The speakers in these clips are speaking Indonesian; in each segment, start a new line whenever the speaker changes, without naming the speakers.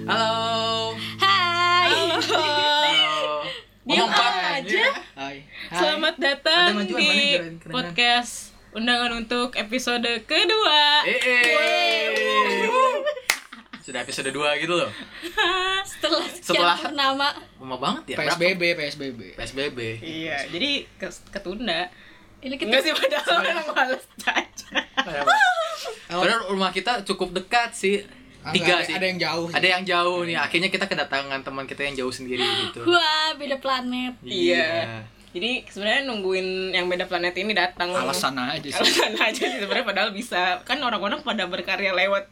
ya.
Selamat datang
Ada majuan,
di
mana jalan kerennya?
podcast undangan untuk episode kedua.
Eh, eh. Sudah episode 2 gitu loh.
Eh,
setelah sekian
Setelah-
purnama
Lama banget ya.
PSBB, PSBB.
berapa? PSBB.
Iya, jadi ke- ketunda.
ini kita
Enggak sih padahal emang males caca.
Padahal rumah kita cukup dekat sih.
Ah,
Tiga
ada-
sih.
ada yang jauh. Iya.
Ada yang jauh nih. Akhirnya kita kedatangan teman kita yang jauh sendiri gitu.
wah beda planet
Iya. Jadi sebenarnya nungguin yang beda planet ini datang.
Oh.
Alasan aja sih.
Alasan aja sih sebenarnya padahal bisa. Kan orang-orang pada berkarya lewat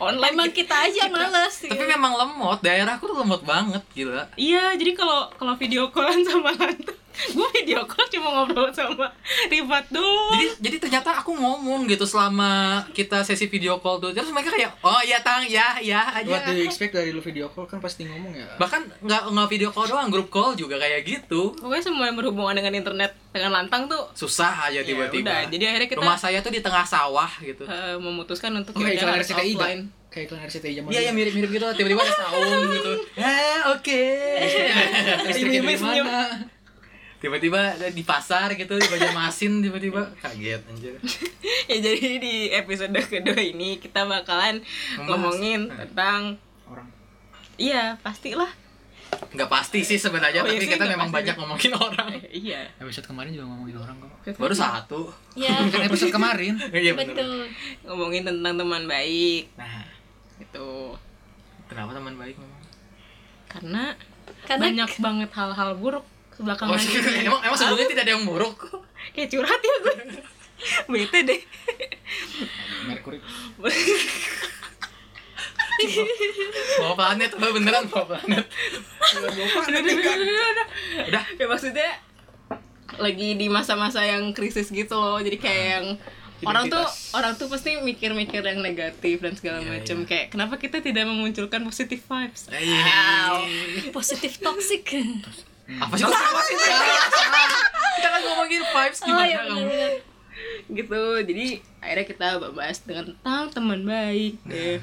online. gitu.
emang kita aja yang males ya. sih
Tapi memang lemot, daerahku tuh lemot banget gila.
Iya, jadi kalau kalau video callan sama Lanta, gue video call cuma ngobrol sama Rifat doang.
Jadi jadi ternyata aku ngomong gitu selama kita sesi video call tuh. Terus mereka kayak, "Oh iya, Tang, ya, ya
Iya,
aja."
What do you expect dari lu video call kan pasti ngomong ya.
Bahkan nggak nggak video call doang, grup call juga kayak gitu.
Pokoknya semua yang berhubungan dengan internet dengan lantang tuh ya
Susah aja tiba-tiba.
Iya, udah, jadi akhirnya kita-
rumah Oh, iya, saya tuh di tengah sawah gitu.
eh, memutuskan untuk
Oke,
yaudah
iklan
harus
RCTI gak?
offline.
Kayak iklan RCTI zaman
Iya yang mirip-mirip gitu lah, tiba-tiba ada saung gitu. Eh, oke. Listriknya
Ibu-ibu
dari
senyum.
mana? Tiba-tiba ada di pasar gitu, di Banjarmasin tiba-tiba kaget anjir.
ya jadi di episode kedua ini kita bakalan
Membahas. Hmm.
ngomongin tentang
orang.
iya pastilah
Nggak pasti sih sebenarnya,
Oh, iya
tapi
sih,
kita
nggak
memang
pasti.
banyak ngomongin orang.
Eh, iya
Episode kemarin juga ngomongin orang kok.
Baru satu.
ya
Kan episode kemarin.
Iya bener.
betul
ngomongin tentang teman baik
Nah,
gitu
kenapa teman baik ngomong?
karena,
karena
banyak banget hal-hal buruk
Oh,
kebelakangan ini.
emang emang sebelumnya tidak ada yang buruk.
kayak curhat ya gue bete deh
Mercury.
Bawa planet, bawa beneran bawa planet.
Aduh, aduh,
kan?
aduh, aduh, aduh.
Udah.
ya maksudnya lagi di masa-masa yang krisis gitu loh jadi kayak
Hmm.
yang orang tuh orang tuh pasti mikir-mikir yang negatif dan segala
Iya,
macem kayak kenapa kita tidak memunculkan positive vibes
positif toxic
Eh, Apa sih? Apa sih? Kita kan ngomongin vibes
oh
gimana
ya
kamu?
benar-benar
gitu jadi akhirnya kita bahas dengan tentang teman baik
Nah.
eh, deh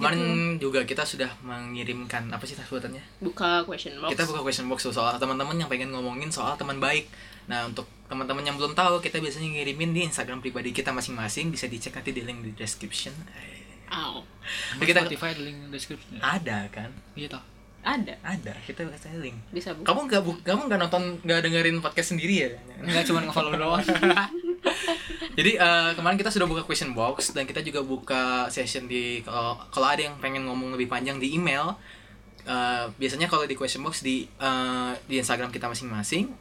Kemarin juga kita sudah mengirimkan apa sih sebutannya?
buka question box
Kita buka question box tuh soal teman-teman yang pengen ngomongin soal teman baik. Nah, untuk teman-teman yang belum tahu, kita biasanya ngirimin di Instagram pribadi kita masing-masing, bisa dicek nanti di link di description. Eh,
Au.
Kita
Spotify ada link description.
ada kan?
Iya toh.
ada
Ada. Kita kasih link.
bisa buka
Kamu nggak bu- kamu nggak nonton nggak dengerin podcast sendiri ya?
Enggak cuma nge-follow doang.
Jadi eh, kemarin kita sudah buka question box dan kita juga buka session di kalau kalau ada yang pengen ngomong lebih panjang di email eh, biasanya kalau di question box di eh, di Instagram kita masing-masing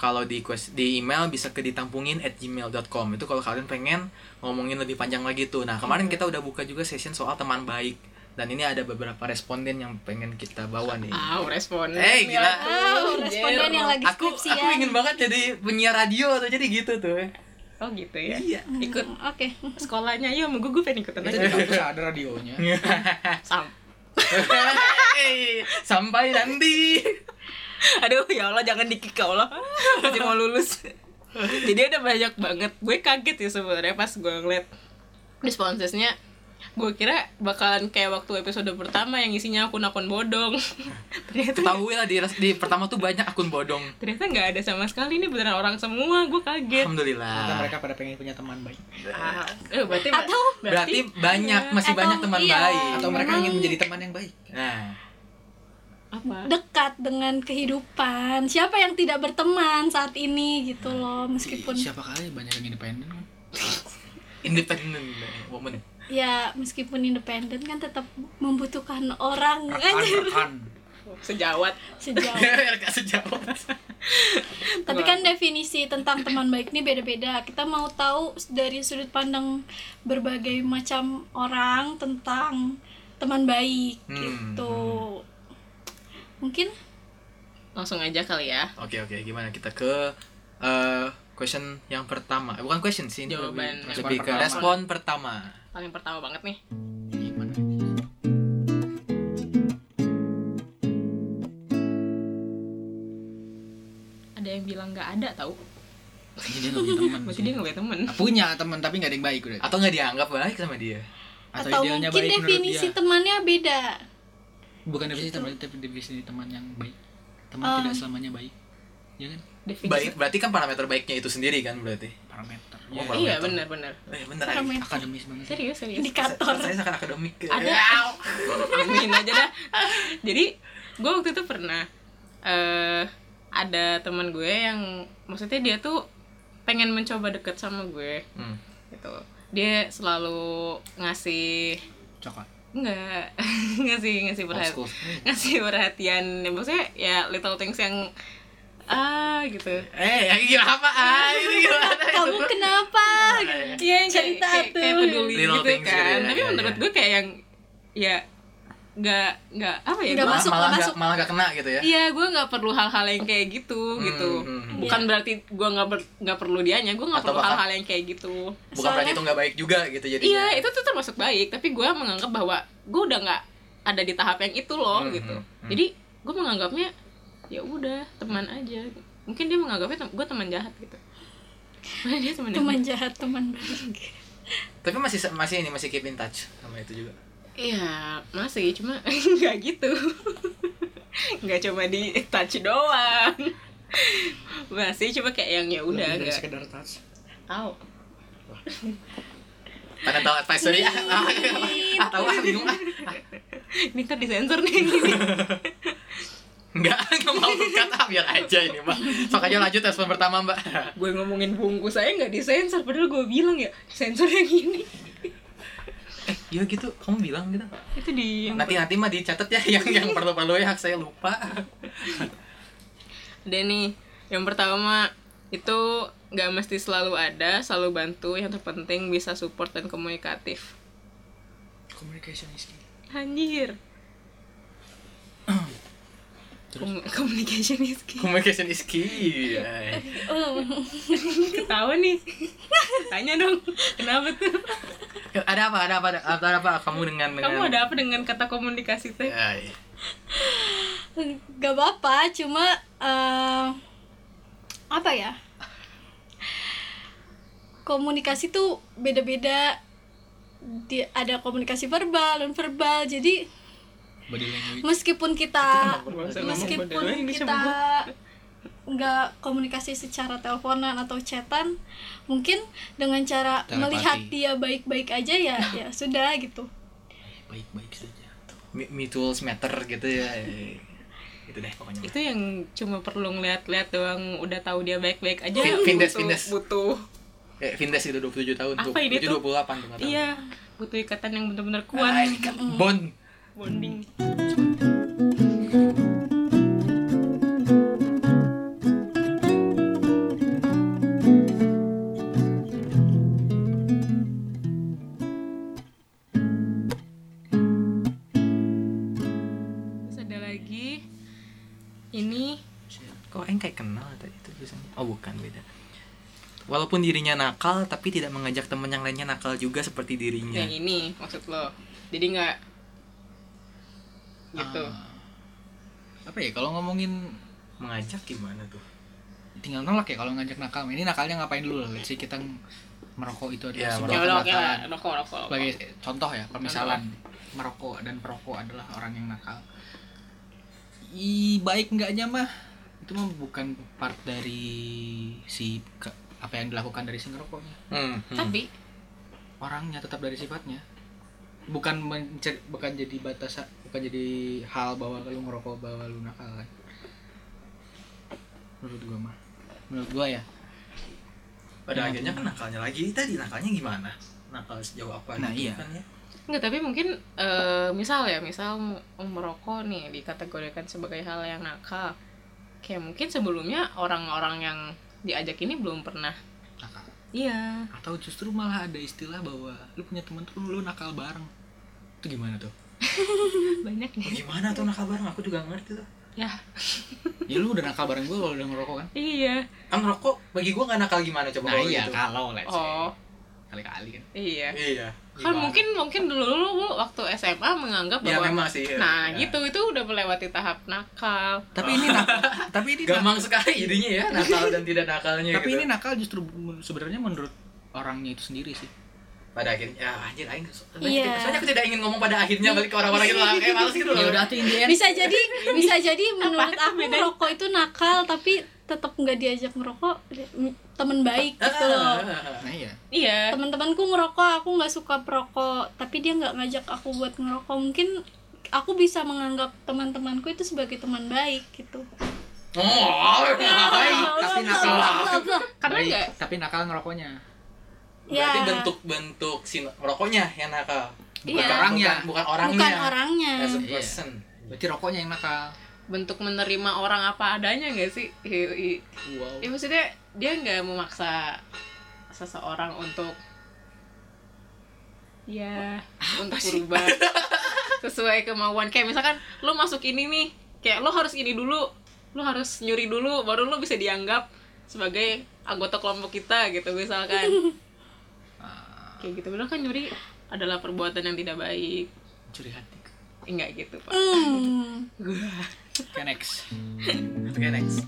kalau di quest, di email bisa ke ditampungin at gmail.com itu kalau kalian pengen ngomongin lebih panjang lagi tuh nah kemarin kita udah buka juga session soal teman baik dan ini ada beberapa responden yang pengen kita bawa nih
Au, respon
Eh, gila.
Wow, Oh, responden yang lagi ya.
aku
skripsian
aku ingin banget jadi penyiar radio tuh jadi gitu tuh
oh gitu ya
iya
ikut
oke
sekolahnya yuk sama gue gue pengen ikutan
Itu
aja
di kampus ada radionya.
Iya.
Sam.
Hei, sampai nanti
Aduh ya Allah jangan dikik ya Allah Masih mau lulus Jadi ada banyak banget Gue kaget ya sebenarnya pas gue ngeliat Responsesnya Gue kira bakalan kayak waktu episode pertama Yang isinya akun-akun bodong Ternyata
ketahui lah di, di pertama tuh banyak akun bodong
ternyata nggak ada sama sekali Ini beneran orang semua Gue kaget
Ternyata
alhamdulillah
mereka pada pengen punya teman baik.
Ah, eh, berarti,
Atau-
berarti banyak masih
Atau
banyak teman
iya.
baik
Atau mereka ingin menjadi teman yang baik.
nah
apa?
dekat dengan kehidupan siapa yang tidak berteman saat ini gitu loh meskipun
Iya,
Siapa kali banyak yang independen kan?
independent woman
ya meskipun independen kan tetap membutuhkan orang Anjir,
Rekan-rekan.
Sejawat
sejauh
mereka sejawat
Tapi kan definisi tentang teman baik ini beda-beda. Kita mau tahu dari sudut pandang berbagai macam orang tentang teman baik
Hmm,
gitu.
hmm,
Mungkin
Langsung aja kali ya
oke oke gimana kita ke eh, question yang pertama Eh, bukan question sih ini
Jawaban
lebih,
yang
lebih ke
pertama.
respon pertama
Paling pertama banget nih
Gimana?
Ada yang bilang nggak ada tau
Ini dia nggak punya teman.
Berarti
sih.
dia nggak punya temen
Nah, punya teman tapi nggak ada yang baik udah.
atau nggak dianggap baik sama dia
atau,
idealnya
mungkin
baik menurut
definisi
dia.
temannya beda.
bukan definisi teman tapi definisi teman yang baik teman
Oh.
tidak selamanya baik ya kan
definisi
Baik, berarti kan parameter baiknya itu sendiri kan berarti.
parameter
Oh,
ya,
parameter.
iya benar benar
Eh, bener.
Parameter.
akademis banget
serius serius
indikator
Saya, saya sangat akademik.
ada amin aja dah jadi gue waktu itu pernah eh ada teman gue yang maksudnya dia tuh pengen mencoba deket sama gue
Hmm.
gitu dia selalu ngasih
coklat
nggak ngasih ngasih
Old
perhatian
school.
ngasih perhatian ya, maksudnya ya little things yang ah gitu
Eh, yang gila apa? Ah, ini gimana?
kamu gitu? kenapa
Iya yang kayak,
Cerita
kayak, kayak
tuh.
peduli
Little
gitu
things
kan
gitu ya,
tapi
iya,
menurut
iya.
gue kayak yang ya nggak nggak apa ya
Nggak
gua-
Malah,
masuk,
malah
nggak
nggak-
masuk.
malah nggak kena gitu ya.
iya gue nggak perlu hal-hal yang kayak gitu gitu
hmm, hmm.
bukan berarti gue nggak ber- nggak perlu dianya gue nggak
Atau
perlu
bahkan-
hal-hal yang kayak gitu
Bukan berarti itu nggak baik juga gitu jadinya.
iya itu tuh termasuk baik tapi gue menganggap bahwa gue udah nggak ada di tahap yang itu loh
Hmm,
gitu
hmm, hmm.
jadi gue menganggapnya ya udah teman aja mungkin dia menganggapnya gue teman jahat gitu Padahal dia teman yang
teman jahat teman baik
Tapi masih masih ini masih keep in touch sama itu juga.
Iya, masih cuma nggak gitu. nggak cuma di touch doang. Masih cuma kayak yang ya udah
Lebih dari
nggak.
sekedar touch
Au.
Parental
Iya.
advisory ah, ah, ah, tahu ah bingung ah.
Ini ntar disensor nih yang ini.
Enggak, enggak mau cut ah, biar aja ini, Mbak. Sok aja lanjut respon pertama, Mbak.
gue ngomongin bungkus saya nggak disensor padahal gue bilang ya sensor yang ini.
Eh, iya gitu, kamu bilang gitu.
Itu di
Nanti nanti mah dicatat ya yang yang perlu-perlu ya, saya lupa.
Ada nih, yang pertama itu nggak mesti selalu ada, selalu bantu. Yang terpenting bisa support dan komunikatif.
communication is key
Anjir. Kom- communication is key.
Communication is key. Iya.
Oh.
ketawa nih tanya dong kenapa tuh
Ada apa? Ada apa? Ada, ada apa kamu dengan dengan
kamu ada apa dengan kata komunikasi teh
Ya, iya.
gak apa-apa cuma eh, apa ya komunikasi tuh beda-beda Di- ada komunikasi verbal non verbal jadi
body language
meskipun kita
Gak usah ngomong
meskipun
bodoh, ini
kita
cuma-
nggak komunikasi secara teleponan atau chatan mungkin dengan cara
Telepati.
melihat dia baik-baik aja ya ya sudah gitu
baik baik saja
me, me tools matter gitu ya. Iya. Gitu deh pokoknya.
itu yang cuma perlu ngeliat-liat doang udah tahu dia baik-baik aja
Fin- findes,
butuh,
findes.
butuh
Eh, Vindes itu 27 tahun.
Apa
27,
ini tuh?
28 tuh nggak tahu.
iya butuh ikatan yang benar-benar
Nah,
kuat
Ah, ikat Nah, Bond.
bonding terus ada lagi ini
Kok Aing kayak kenal tadi itu tulisannya? Oh bukan beda. Walaupun dirinya nakal, tapi tidak mengajak teman yang lainnya nakal juga seperti dirinya.
yang ini maksud lo jadi nggak gitu
apa ya kalau ngomongin
Mengajak gimana tuh?
tinggal nolak ya kalau ngajak nakal ini nakalnya ngapain dulu lah sih kita merokok itu
Ya,
adalah sebuah
ya udah oke lah
kebakaran.
rokok rokok rokok.
sebagai contoh ya permisalan merokok dan perokok adalah orang yang nakal i baik enggaknya mah itu mah bukan part dari si ke- apa yang dilakukan dari si ngerokoknya
Hmm. hmm.
tapi
orangnya tetap dari sifatnya bukan mencer- bukan jadi batasan bukan jadi hal bahwa lu ngerokok bahwa lu nakal kan menurut gua mah menurut gua ya
pada akhirnya kan nakalnya lagi tadi nakalnya gimana nakal sejauh apa
Nah,
gitu
iya.
kan ya
Nggak, tapi mungkin eh, misal ya, misal merokok nih dikategorikan sebagai hal yang nakal. Kayak mungkin sebelumnya orang-orang yang diajak ini belum pernah.
nakal
Iya.
atau justru malah ada istilah bahwa lu punya teman tuh lu nakal bareng itu gimana tuh
Banyak nih.
Oh, gimana tuh nakal bareng aku juga nggak ngerti tuh
Ya.
ya lu udah nakal bareng gue kalau udah ngerokok kan
Iya.
kan rokok bagi gua nggak nakal gimana coba
nah
kalau
iya
gitu.
kalau let's say
Oh,
kali-kali kan
iya.
iya
Kan
Gimana?
mungkin mungkin dulu lu waktu SMA menganggap
ya
bahwa
memang sih iya.
Nah,
Iya.
gitu itu udah melewati tahap nakal.
tapi ini nakal tapi ini nakal,
gampang sekali jadinya ya nakal dan tidak nakalnya
tapi
gitu.
ini nakal justru men- sebenarnya menurut orangnya itu sendiri sih
pada akhirnya ya anjir aing gitu.
Iya.
soalnya aku tidak ingin ngomong pada akhirnya balik ke orang-orang itu lah kayak males gitu loh
ya udah tuh Indian
bisa jadi bisa jadi menurut aku rokok itu nakal tapi tetap nggak diajak ngerokok temen baik gitu loh
Ah.
nah iya
iya
teman-temanku ngerokok aku nggak suka perokok tapi dia nggak ngajak aku buat ngerokok mungkin aku bisa menganggap teman-temanku itu sebagai teman baik gitu Ya
oh
Iya.
baik tapi nakal
karena
Baik,
nggak
tapi nakal ngerokoknya
berarti
Ya.
bentuk-bentuk si rokoknya yang nakal
Iya.
Bukan-
Orangnya.
bukan, bukan orangnya Ya,
bukan orangnya
as a
Iya.
person
berarti rokoknya yang nakal
bentuk menerima orang apa adanya nggak sih Hi- hi-
wow
ya maksudnya dia nggak memaksa seseorang untuk ya untuk berubah sesuai kemauan kayak misalkan lo masuk ini nih kayak lo harus ini dulu lo harus nyuri dulu baru lo bisa dianggap sebagai anggota kelompok kita gitu misalkan kayak gitu bener kan nyuri adalah perbuatan yang tidak baik
curi hati
enggak gitu pak
Hmm.
okay, next
oke next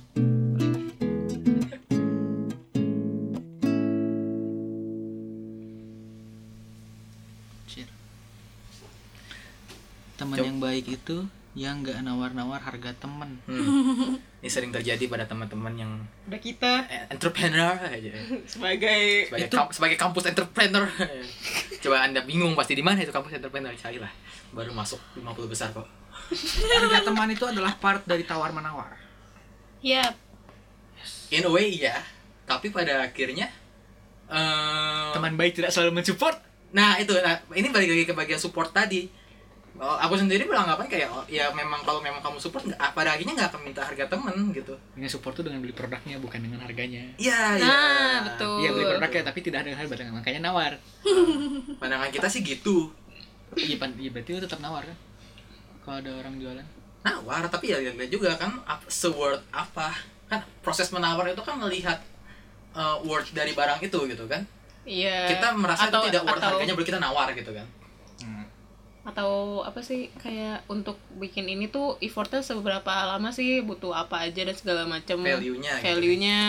Shit. teman
Cok.
yang baik itu yang nggak nawar-nawar harga temen
Hmm. ini sering terjadi pada teman-teman yang
udah kita
eh, entrepreneur aja
sebagai
sebagai,
Itu-
kamp- sebagai kampus entrepreneur coba anda bingung pasti di mana itu kampus entrepreneur carilah baru masuk 50 besar kok
harga teman itu adalah part dari tawar menawar
ya
in a way ya tapi pada akhirnya eh
Oh. teman baik tidak selalu mensupport
nah itu nah, ini balik lagi ke bagian support tadi Oh, aku sendiri beranggapan kayak oh, ya memang kalau memang kamu support nggak- pada akhirnya nggak akan minta harga temen gitu
dengan support tuh dengan beli produknya bukan dengan harganya
iya iya
nah betul
Iya beli produknya tapi tidak ada harga dengan makanya nawar
pandangan kita sih gitu
iya pan- iya, berarti lu tetap nawar kan kalau ada orang jualan
nawar tapi ya lihat juga kan ap- se-worth apa kan proses menawar itu kan melihat uh, worth dari barang itu gitu kan
iya
kita merasa
Atau-
itu tidak worth
atau-
harganya baru kita nawar gitu kan
atau apa sih kayak untuk bikin ini tuh effortnya seberapa lama sih butuh apa aja dan segala macam
Value-nya gitu.
value-nya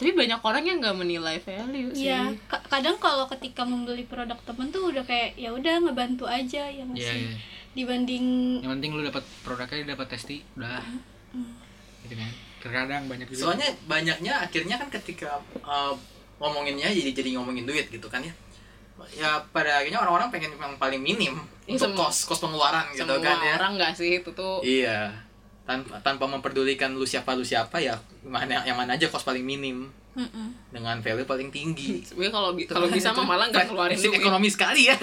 tapi banyak orang yang nggak menilai value sih
ya Ka- kadang kalau ketika membeli produk temen tuh udah kayak ya udah ngebantu aja ya nggak
Iya,
sih?
iya.
dibanding
yang penting lu dapat produknya dapat testi udah gitu kan terkadang banyak
Gitu.
juga
soalnya banyaknya akhirnya kan ketika uh, ngomonginnya jadi jadi ngomongin duit gitu kan ya ya pada akhirnya orang-orang pengen yang paling minim
Iya,
untuk
semua-
kos kos pengeluaran gitu
semua
kan ya
orang nggak sih itu tuh
iya tanpa tanpa memperdulikan lu siapa lu siapa ya mana yang mana aja kos paling minim
Mm-mm.
dengan value paling tinggi
sebenarnya kalau bi-
kan
kalau bisa mah malah nggak keluarin
Prinsip
duit
ekonomi sekali ya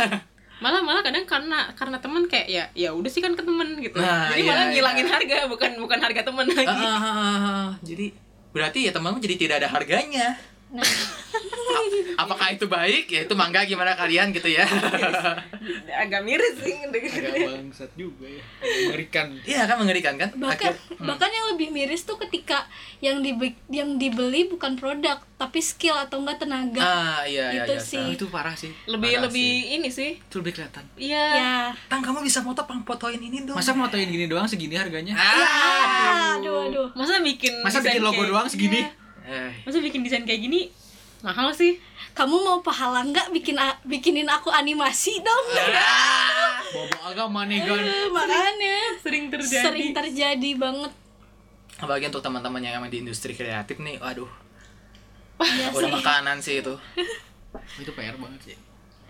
malah malah kadang karena karena teman kayak ya ya udah sih kan ke teman gitu
Nah,
jadi
iya,
malah
iya.
ngilangin harga bukan bukan harga teman lagi
Ah, ah, ah, ah. jadi berarti ya temanmu jadi tidak ada harganya
nah
apakah itu baik ya itu mangga gimana kalian gitu ya
agak miris sih gitu.
agak
dengernya.
bangsat juga ya mengerikan
iya kan mengerikan kan
bahkan
Akhir-
bahkan yang lebih miris tuh ketika yang dibe yang dibeli bukan produk tapi skill atau enggak tenaga
ah iya iya iya,
Itu gitu sih.
iya.
itu parah sih
lebih
Parah
lebih ini sih
itu lebih kelihatan
iya
ya
tang kamu bisa foto pang fotoin ini dong Iya.
masa mau gini doang segini harganya
Ah, aduh aduh
masa bikin
masa
desain
bikin logo
kayak-
doang segini
Eh,
masa bikin desain kayak gini mahal sih
kamu mau pahala nggak bikin a- bikinin aku animasi dong
bobo agama nih kan
makanya
sering terjadi
sering terjadi banget
apalagi untuk teman-teman yang emang di industri kreatif nih aduh
ya
udah
sih
makanan sih itu
itu pr banget sih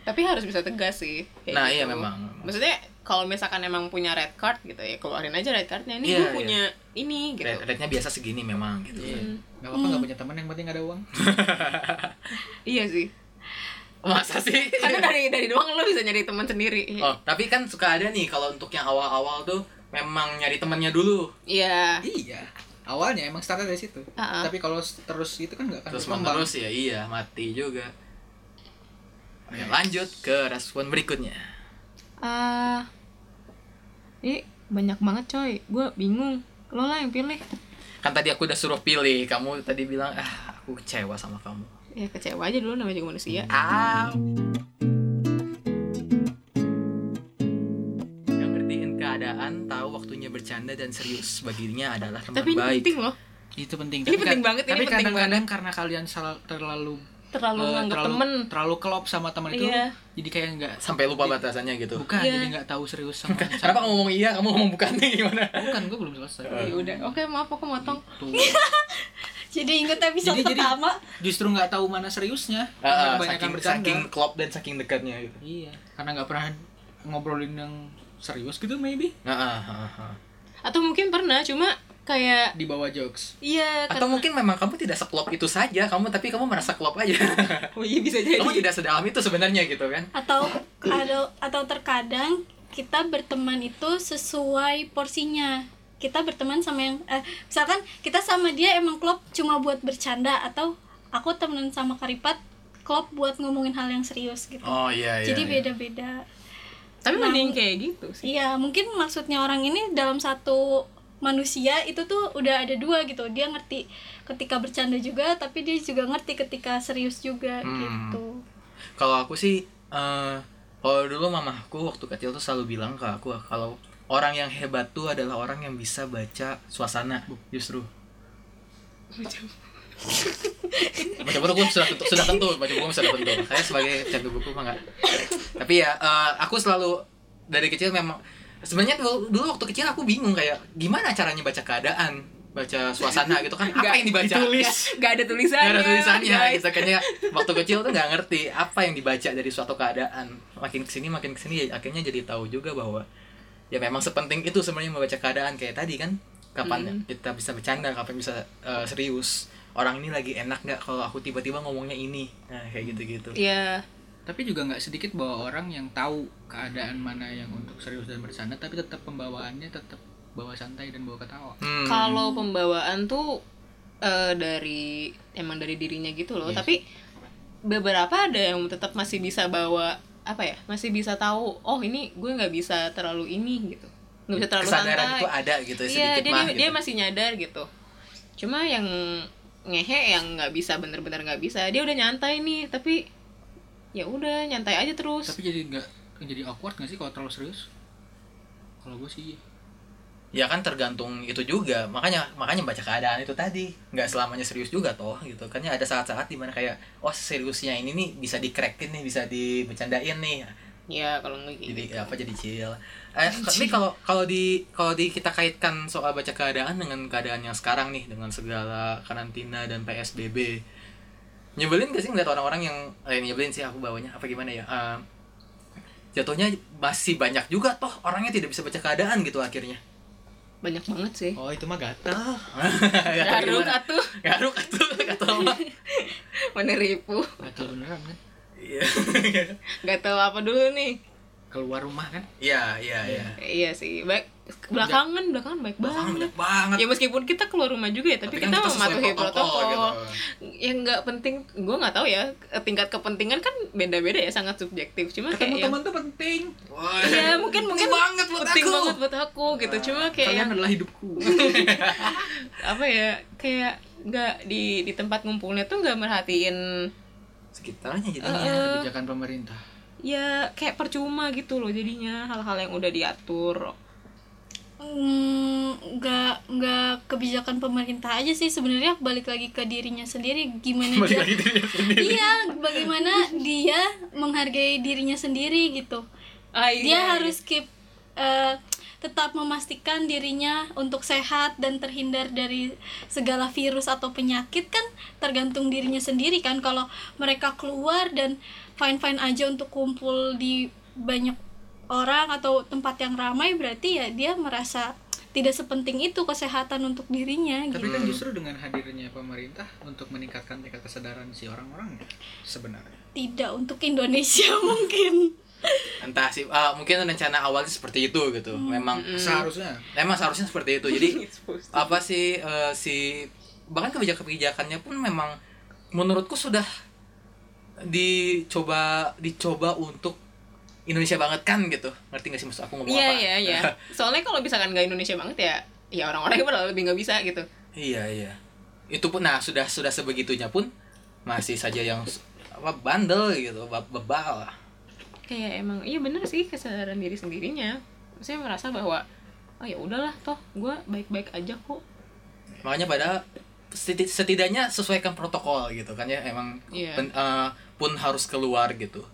tapi harus bisa tegas sih kayak
Nah, iya,
gitu.
memang.
maksudnya kalau misalkan emang punya red card gitu ya keluarin aja red cardnya
Iya,
ini gue
iya.
punya ini gitu
Rate- rate-nya biasa segini memang gitu
Gak Iya. apa-apa gak punya teman yang penting ada uang
iya sih
masa sih
karena dari dari doang lo bisa nyari teman sendiri
oh tapi kan suka ada nih kalau untuk yang awal-awal tuh memang nyari temannya dulu
iya
Iya. Awalnya emang startnya dari situ.
Ah, ah.
Tapi kalau s- terus itu kan nggak akan
terus
berkembang.
menerus ya iya mati juga Oke, lanjut ke respon berikutnya
ah ini banyak banget coy gue bingung lo lah yang pilih
kan tadi aku udah suruh pilih kamu tadi bilang ah aku kecewa sama kamu
ya kecewa aja dulu namanya juga manusia
ah yang ngertiin keadaan tahu waktunya bercanda dan serius baginya adalah Hmm, teman
tapi ini
baik
penting loh
Itu penting.
Ini penting banget, ini
Tapi
penting
kadang-kadang karena kalian salah terlalu
terlalu
eh,
nganggap
terlalu
temen
terlalu kelop sama teman itu
Iya.
jadi kayak nggak
sampai lupa batasannya gitu
bukan
Iya.
jadi nggak tahu serius sama
kenapa kamu ngomong iya kamu ngomong bukan nih gimana
bukan gue belum selesai
ya udah
oh.
oke maaf aku motong
Tuh.
Jadi inget episode
jadi jadi
pertama
justru nggak tahu mana seriusnya
Ah, ah,
karena kebanyakan
saking
bercanda
saking klop dan saking dekatnya gitu
iya karena nggak pernah ngobrolin yang serius gitu maybe
Ah, ah, ah, ah.
atau mungkin pernah cuma kayak
di bawah jokes
iya
atau
karena-
mungkin memang kamu tidak seklop itu saja kamu tapi kamu merasa klop aja
oh iya bisa jadi
kamu tidak sedalam itu sebenarnya gitu kan
atau atau atau terkadang kita berteman itu sesuai porsinya kita berteman sama yang eh, misalkan kita sama dia emang klop cuma buat bercanda atau aku temenan sama Karipat klop buat ngomongin hal yang serius gitu
oh iya
jadi beda-beda
tapi mending kayak gitu sih
iya mungkin maksudnya orang ini dalam satu manusia itu tuh udah ada dua gitu dia ngerti ketika bercanda juga tapi dia juga ngerti ketika serius juga
Hmm.
gitu
kalau aku sih eh kalau dulu mamahku waktu kecil tuh selalu bilang ke aku kalau orang yang hebat tuh adalah orang yang bisa baca suasana justru baca buku sudah tentu sudah tentu baca buku sudah tentu saya sebagai pecandu buku mah enggak tapi ya eh, aku selalu dari kecil memang sebenarnya dulu, dulu waktu kecil aku bingung kayak gimana caranya baca keadaan baca suasana gitu kan apa yang dibaca
Nggak- nggak ada tulisannya
Gak ada tulisannya
guys.
gitu kayaknya waktu kecil tuh nggak ngerti apa yang dibaca dari suatu keadaan makin kesini makin kesini ya akhirnya jadi tahu juga bahwa ya memang sepenting itu sebenarnya membaca keadaan kayak tadi kan kapan
Hmm.
kita bisa bercanda kapan bisa eh, serius orang ini lagi enak nggak kalau aku tiba-tiba ngomongnya ini nah kayak gitu gitu
iya
tapi juga nggak sedikit bahwa orang yang tahu keadaan mana yang untuk serius dan bercanda tapi tetap pembawaannya tetap bawa santai dan bawa ketawa
Hmm.
kalau pembawaan tuh eh, dari emang dari dirinya gitu loh tapi beberapa ada yang tetap masih bisa bawa apa ya masih bisa tahu oh ini gue nggak bisa terlalu ini gitu nggak bisa terlalu
kesadaran
santai
itu ada gitu
iya
sedikit
dia,
mah
dia,
gitu.
dia masih nyadar gitu cuma yang ngehe yang nggak bisa bener-bener nggak bisa dia udah nyantai nih tapi ya udah nyantai aja terus
tapi jadi nggak jadi awkward nggak sih kalau terlalu serius kalau gue sih iya.
ya kan tergantung itu juga makanya makanya baca keadaan itu tadi nggak selamanya serius juga toh gitu kan ya ada saat-saat dimana kayak oh seriusnya ini nih bisa dikrekin nih bisa dibecandain nih Nah,
ya kalau nggak gitu
jadi apa Iya. jadi chill eh, tapi kalau kalau di kalau di kita kaitkan soal baca keadaan dengan keadaan yang sekarang nih dengan segala karantina dan psbb nyebelin gak sih ngeliat orang-orang yang eh, nyebelin sih aku bawanya apa gimana ya Eh, jatuhnya masih banyak juga toh orangnya tidak bisa baca keadaan gitu akhirnya
banyak banget sih
oh itu mah gatel
Oh, iya,
garuk atuh
Garuk itu kata mama.
menipu
gatel beneran kan
Iya.
nggak tahu apa dulu nih
keluar rumah kan
Iya, iya, iya.
Eh, iya sih baik belakangan belakangan baik
Orang banyak
banget
banget.
ya meskipun kita keluar rumah juga ya tapi,
kan
kita,
sesuai
mematuhi protokol,
gitu.
yang nggak penting gue nggak tahu ya tingkat kepentingan kan beda-beda ya sangat subjektif cuma
ketemu
kayak yang-
teman tuh penting
Wah,
Iya, mungkin mungkin
penting banget buat
penting
aku. Nah,
banget buat aku gitu. Cuma kayak
kalian
yang
adalah hidupku
apa ya? Kayak nggak di di tempat ngumpulnya tuh nggak merhatiin
Sekitarnya gitu. jadinya.
Iya, kebijakan pemerintah
ya kayak percuma gitu loh jadinya hal-hal yang udah diatur.
Mm, nggak nggak kebijakan pemerintah aja sih sebenarnya balik lagi ke dirinya sendiri gimana dia iya bagaimana dia menghargai dirinya sendiri gitu
Ah,
dia
iya,
harus keep eh, tetap memastikan dirinya untuk sehat dan terhindar dari segala virus atau penyakit kan tergantung dirinya sendiri kan kalau mereka keluar dan fine fine aja untuk kumpul di banyak orang atau tempat yang ramai berarti ya dia merasa tidak sepenting itu kesehatan untuk dirinya gitu.
tapi kan justru dengan hadirnya pemerintah untuk meningkatkan tingkat kesadaran si orang-orang ya, sebenarnya
tidak untuk Indonesia mungkin
Entah sih, ah, mungkin rencana awalnya seperti itu gitu.
Hmm.
Memang
seharusnya
memang seharusnya seperti itu. Jadi
Supposed to.
apa sih eh, si bahkan kebijakan-kebijakannya pun memang menurutku sudah dicoba dicoba untuk Indonesia banget kan gitu ngerti gak sih maksud aku ngomong
Iya
apa
iya iya. Soalnya kalau misalkan nggak Indonesia banget ya, ya orang-orang yang malah lebih nggak bisa gitu.
iya iya itu pun nah sudah sudah sebegitunya pun masih saja yang s- apa bandel gitu be- bebal lah
Kayak emang iya bener sih kesadaran diri sendirinya. Saya merasa bahwa oh ya udahlah toh gue baik-baik aja kok.
makanya padahal seti- setidaknya sesuaikan protokol gitu kan ya emang
Iya.
pen- eh, pun harus keluar gitu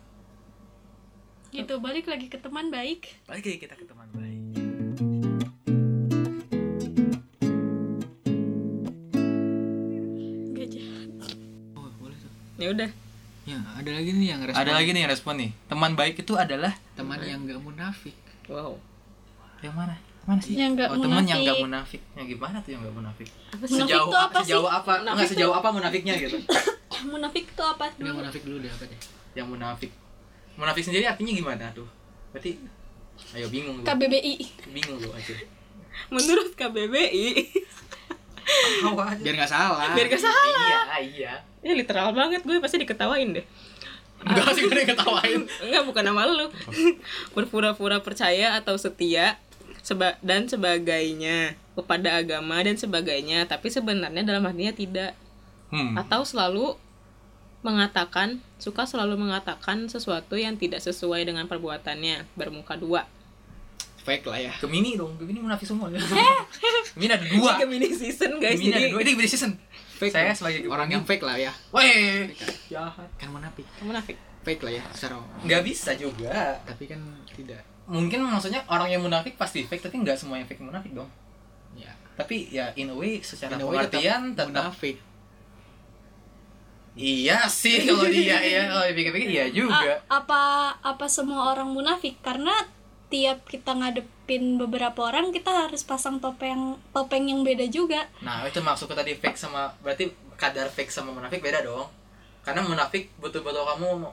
gitu balik lagi ke teman baik
balik lagi kita ke teman baik
gajah
Oh, boleh tuh.
ya udah
Ya, ada lagi nih yang respon.
ada lagi nih yang respon nih teman baik itu adalah
teman yang gak munafik.
wow
yang mana mana sih
Yang nggak
oh, teman yang
munafik.
nggak munafik yang gimana tuh yang nggak munafik
sih?
sejauh
Munafik tuh apa sih?
sejauh apa
Munafik
nggak
tuh-
sejauh apa munafiknya gitu
munafik itu apa
Yang
dulu
munafik dulu deh apa deh?
yang munafik munafik sendiri artinya gimana tuh berarti ayo bingung lu
KBBI
bingung lu aja
menurut KBBI
tahu aja
Biar gak salah.
biar gak salah
iya iya
ya literal banget gue pasti diketawain deh
enggak sih gue Oh. ketawain
Enggak, bukan nama lu. Berpura-pura percaya atau setia seba dan sebagainya kepada agama dan sebagainya, tapi sebenarnya dalam hatinya tidak
hmm.
atau selalu mengatakan suka selalu mengatakan sesuatu yang tidak sesuai dengan perbuatannya bermuka dua
Fake lah ya.
Gemini dong, Gemini munafik semua ya. Gemini ada dua.
Ini Gemini season guys
Gemini ada
jadi
dua, ini Gemini season.
Fake
Saya
dong.
sebagai Gemini.
orang yang fake lah ya.
Weh, jahat.
Kan munafik.
munafik
Fake lah ya, secara
Nggak bisa juga.
tapi kan tidak.
Mungkin maksudnya orang yang munafik pasti fake, tapi nggak semua yang fake munafik dong.
Ya.
Tapi ya in a way secara
In a way
pengertian
tetap
tetap,
munafik.
iya sih kalau dia ya kalau dipikir-pikir iya juga.
A- apa apa semua orang munafik karena tiap kita ngadepin beberapa orang kita harus pasang topeng topeng yang beda juga
Nah itu maksudku tadi fake sama berarti kadar fake sama munafik beda dong. Karena munafik betul-betul kamu mem-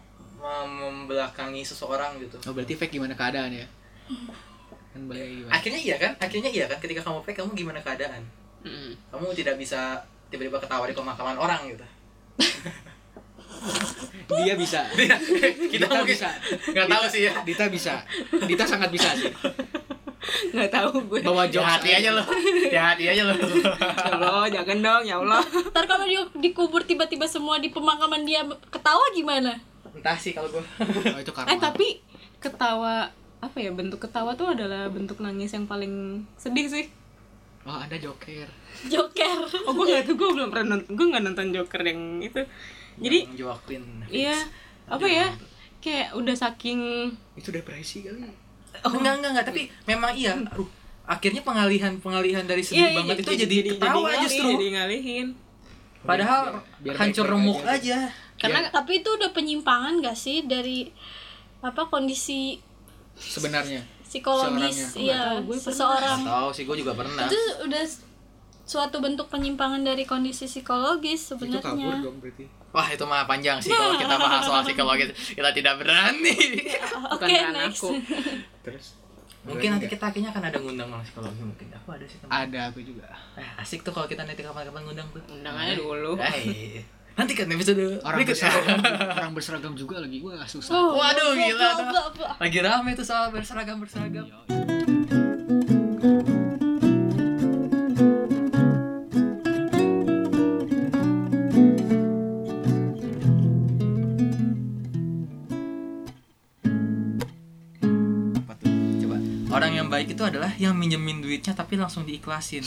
membelakangi seseorang gitu.
Oh, berarti fake gimana keadaan ya? Kan balik lagi gimana?
Akhirnya iya kan? Akhirnya iya kan? Ketika kamu fake kamu gimana keadaan?
Mm.
kamu tidak bisa tiba-tiba ketawa di pemakaman orang gitu
Dia bisa.
kita
Dita
mungkin
bisa.
nggak tahu sih ya
Dita bisa. Dita sangat bisa sih.
nggak tahu gue
Bawa jokes.
hati aja lo hati aja lo
ya Allah jangan dong ya Allah
ntar kalau dia dikubur tiba-tiba semua di pemakaman dia ketawa gimana
entah sih kalau gue
Oh, itu karma.
eh tapi ketawa apa ya bentuk ketawa tuh adalah bentuk nangis yang paling sedih sih
Oh, Anda joker.
joker
Oh gue gak tuh gue belum pernah nonton gue nggak nonton Joker yang itu jadi
Joaquin
iya apa ya kayak udah saking
Itu depresi kali.
oh enggak enggak enggak tapi memang iya Aduh, akhirnya pengalihan pengalihan dari sedih
Iya, iya,
banget itu jadi, ketawa
ngalih,
justru
jadi ngalihin
padahal
biar
hancur
baik-baik
remuk
aja.
aja,
karena
Ya. tapi itu udah penyimpangan gak sih dari apa kondisi
Sebenarnya.
psikologis
Seorangnya.
iya
Nggak tahu, Oh, gue pernah.
Nggak
seseorang
tahu sih gue juga pernah
itu udah s- suatu bentuk penyimpangan dari kondisi psikologis
Itu kabur
sebenarnya
dong berarti.
wah itu mah panjang sih kalau kita bahas soal psikologis kita tidak berani
bukan
Oke,
karena
next.
aku
Terus
mungkin nanti kita kayaknya akan ada ngundang orang psikologi mungkin aku ada sih teman
ada aku juga.
Eh, asik tuh kalau kita nanti kapan-kapan ngundang tuh
undang aja dulu
Hai. Nanti kan episode
Orang
berikutnya.
berseragam, orang berseragam juga lagi. Wah, susah.
Oh,
Waduh,
blah,
gila
blah,
tuh.
blah, blah.
Lagi rame tuh soal berseragam berseragam. Apa tuh? Coba. Orang yang baik itu adalah yang minjemin duitnya tapi langsung diikhlasin.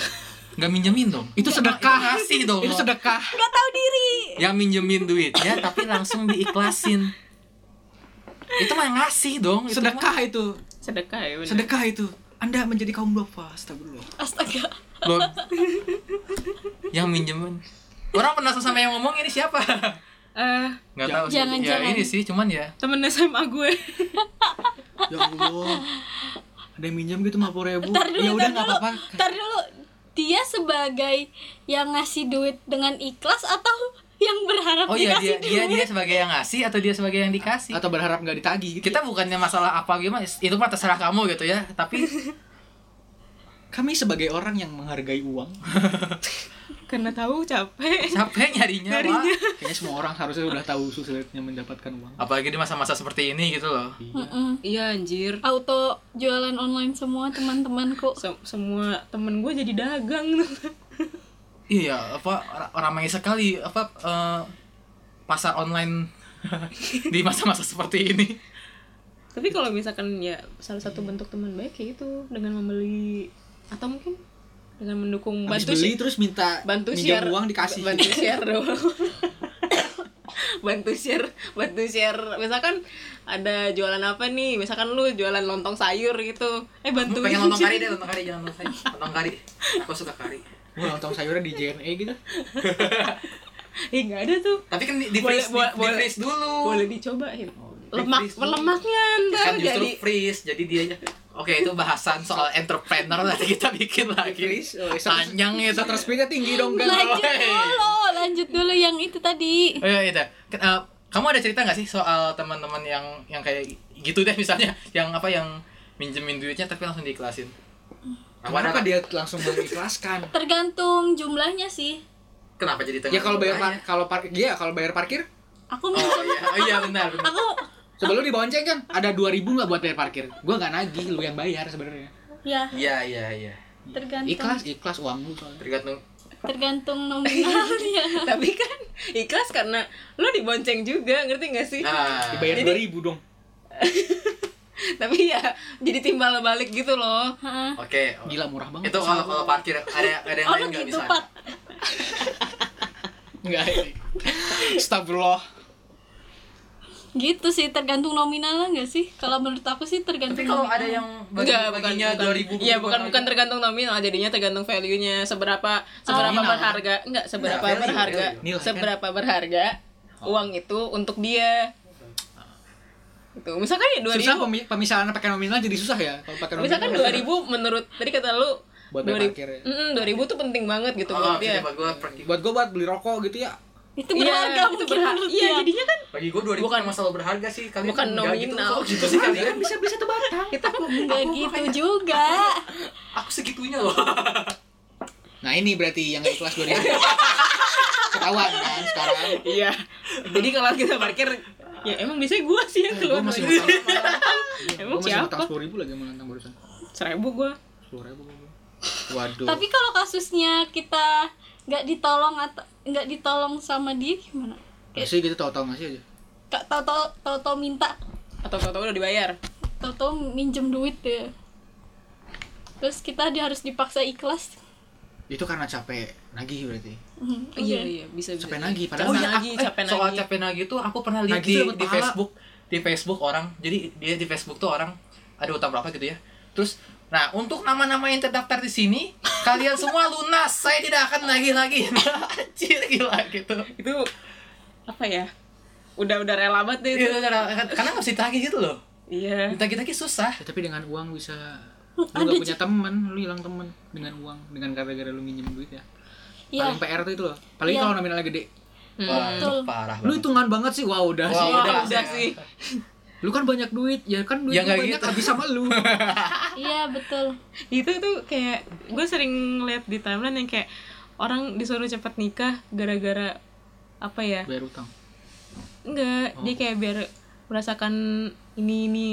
Nggak minjemin dong.
Itu sedekah.
Kasih dong.
Itu sedekah.
nggak tahu diri
yang minjemin duitnya Ya, tapi langsung diikhlasin itu mah ngasih dong itu mah.
Sedekah itu.
sedekah ya bener.
Sedekah itu. Anda menjadi kaum duafa. Astagfirullah.
astaga
Loh, yang minjemin orang pernah sama yang ngomong ini siapa
Eh,
nggak tahu sih.
Jangan,
ya
jangan.
ini sih cuman ya
temen SMA gue
Ya Allah. Ada yang minjem gitu 50 ribu
Ntar dulu,
Ya
ntar
udah nggak
dulu.
apa-apa
Ntar dulu. Dia sebagai yang ngasih duit dengan ikhlas atau yang berharap
oh iya dia
dikasih
dia
duit?
dia sebagai yang ngasih atau dia sebagai yang dikasih
Atau berharap nggak ditagih gitu
kita bukannya masalah apa gimana itu mah terserah kamu gitu ya tapi
Kami sebagai orang yang menghargai uang
karena tahu capek
capek nyarinya, Wak.
Kayaknya semua orang harusnya sudah tahu sulitnya mendapatkan uang
apalagi di masa-masa seperti ini gitu loh
Mm-mm.
iya anjir
Auto jualan online semua teman-temanku.
Se- semua temen gue jadi dagang
Iya, apa ra- ramai sekali apa eh, pasar online di masa-masa seperti ini.
tapi kalau misalkan ya salah satu bentuk teman baik ya itu dengan membeli atau mungkin dengan mendukung
Habis
bantu
beli
sih
terus minta
bantu
minjam
share
uang dikasih.
bantu share dong bantu share bantu share misalkan ada jualan apa nih misalkan lu jualan lontong sayur gitu eh bantu
pengen lontong kari deh lontong kari jangan lontong kari lontong kari aku suka kari
Gua lontong sayurnya di JNE gitu.
eh nggak ada tuh
tapi kan di, di
Boleh,
freeze di, di
boleh, boleh.
freeze dulu
boleh dicobain lemak
Oh, please, please.
lemaknya ntar
kan justru
jadi
freeze jadi dia oke itu bahasan soal entrepreneur nanti kita bikin lagi
Freeze, oh, satu-
panjang itu
Shutter speednya tinggi dong kan.
lanjut dulu lanjut dulu yang itu tadi
oh, iya, itu Ke- eh, kamu ada cerita nggak sih soal teman-teman yang yang kayak gitu deh misalnya yang apa yang minjemin duitnya tapi langsung diikhlasin Kamu ada
Kenapa
nggak?
dia langsung mengikhlaskan?
tergantung jumlahnya sih
kenapa jadi tengah
Ya kalau bayar par-
tengahnya?
kalau parkir, iya kalau bayar parkir,
aku
oh
minjem
iya oh iya benar benar
aku
sebelum dibonceng kan ada 2000 lah buat bayar parkir. Gua nggak nagih, lu yang bayar sebenarnya.
ya
iya iya iya
tergantung
Ikhlas, ikhlas uang lu soalnya.
tergantung
tergantung nominalnya
tapi kan ikhlas karena lu dibonceng juga ngerti gak sih
ah
Dibayar
Jadi-
2000 dong.
tapi ya jadi timbal balik gitu loh
Hah?
oke
Gila murah banget.
itu kalau kalau parkir ada ada yang
oh
lain
lu
nggak
gitu
bisa
pak
Enggak. Astagfirullah.
gitu sih tergantung nominalnya nggak sih kalau menurut aku sih tergantung
tapi kalau
nominal.
ada yang bagi,
Enggak, bukan,
baginya
bukan.
dua ribu
Iya, bukan bukan tergantung nominal, jadinya tergantung value-nya seberapa seberapa
nominal.
berharga. Enggak, seberapa
Enggak, value,
berharga.
value.
Nilai, kan?
seberapa berharga uang itu untuk dia. Itu. Misalkan ya
Susah
2000.
pemi- pemisahan pakai nominal jadi susah ya kalau pakai nominal.
Misalkan 2000 menurut tadi kata lu
Buat bayar
2000.
parkir ya.
Mm, 2000 tuh penting banget gitu
oh
buat
jadi
dia.
bagi gue pergi
Buat gua buat beli rokok gitu ya.
itu berharga
Iya, itu
mungkin
berhar-
menurut
Iya,
dia.
jadinya kan
bagi gue dua ribu bukan masalah berharga sih kalian
Bukan
enggak
nominal.
gitu, kok gitu sih kalian
bisa bisa tuh batang.
kita
nggak gitu juga
aku segitunya loh
Nah, ini berarti yang nggak ikhlas 2000. Ketahuan kan sekarang.
Iya. Jadi kalau kita parkir ya emang biasanya gua sih yang keluar.
Gua masih
duit.
ngutang.
Emang
Gua masih ngutang
siapa?
10.000 lagi mau nantang barusan.
Seribu gua.
10.000 gua. Waduh.
tapi kalau kasusnya kita nggak ditolong atau nggak ditolong sama dia gimana
Masih gitu tahu-tahu ngasih aja.
kak tau tau tau minta
Atau tahu-tahu udah dibayar.
tau tau minjem duit ya terus kita dia harus dipaksa ikhlas
Itu karena capek nagih berarti.
Hmm,
Mm-hmm.
Iya
oke.
iya bisa bisa.
Capek nagih padahal
Oh
Nah,
iya,
aku-
lagi,
eh,
capek
soal
lagi.
capek lagi tuh aku pernah lihat
Lagi
di,
tuh dapat
di
pahala.
Facebook di Facebook orang jadi dia di Facebook tuh orang ada utang berapa gitu ya terus nah untuk nama-nama yang terdaftar di sini kalian semua lunas saya tidak akan lagi lagi anjir gila gitu
itu apa ya udah udah rela banget deh itu
Gitu, karena karena nggak bisa ditagih gitu loh
iya
ditagih-tagih susah
Ya, tapi dengan uang bisa
Oh,
lu gak punya teman, lu hilang teman dengan uang, dengan gara-gara lu minjem duit ya.
Iya,
Paling PR tuh itu loh. Paling
Iya.
kalau nominalnya gede.
Wah, Hmm. itu
Betul.
parah
Lu
banget
hitungan banget sih. Wah, udah
Wah,
sih.
Wah,
udah,
Iya, udah,
saya-
sih
Lu kan banyak duit, ya kan duit
Ya,
lu
nggak
banyak
gitu.
habis sama lu.
iya betul
itu tuh kayak gue sering lihat di timeline yang kayak orang disuruh cepat nikah gara-gara apa ya
Bayar utang.
Oh.
enggak dia kayak biar merasakan ini ini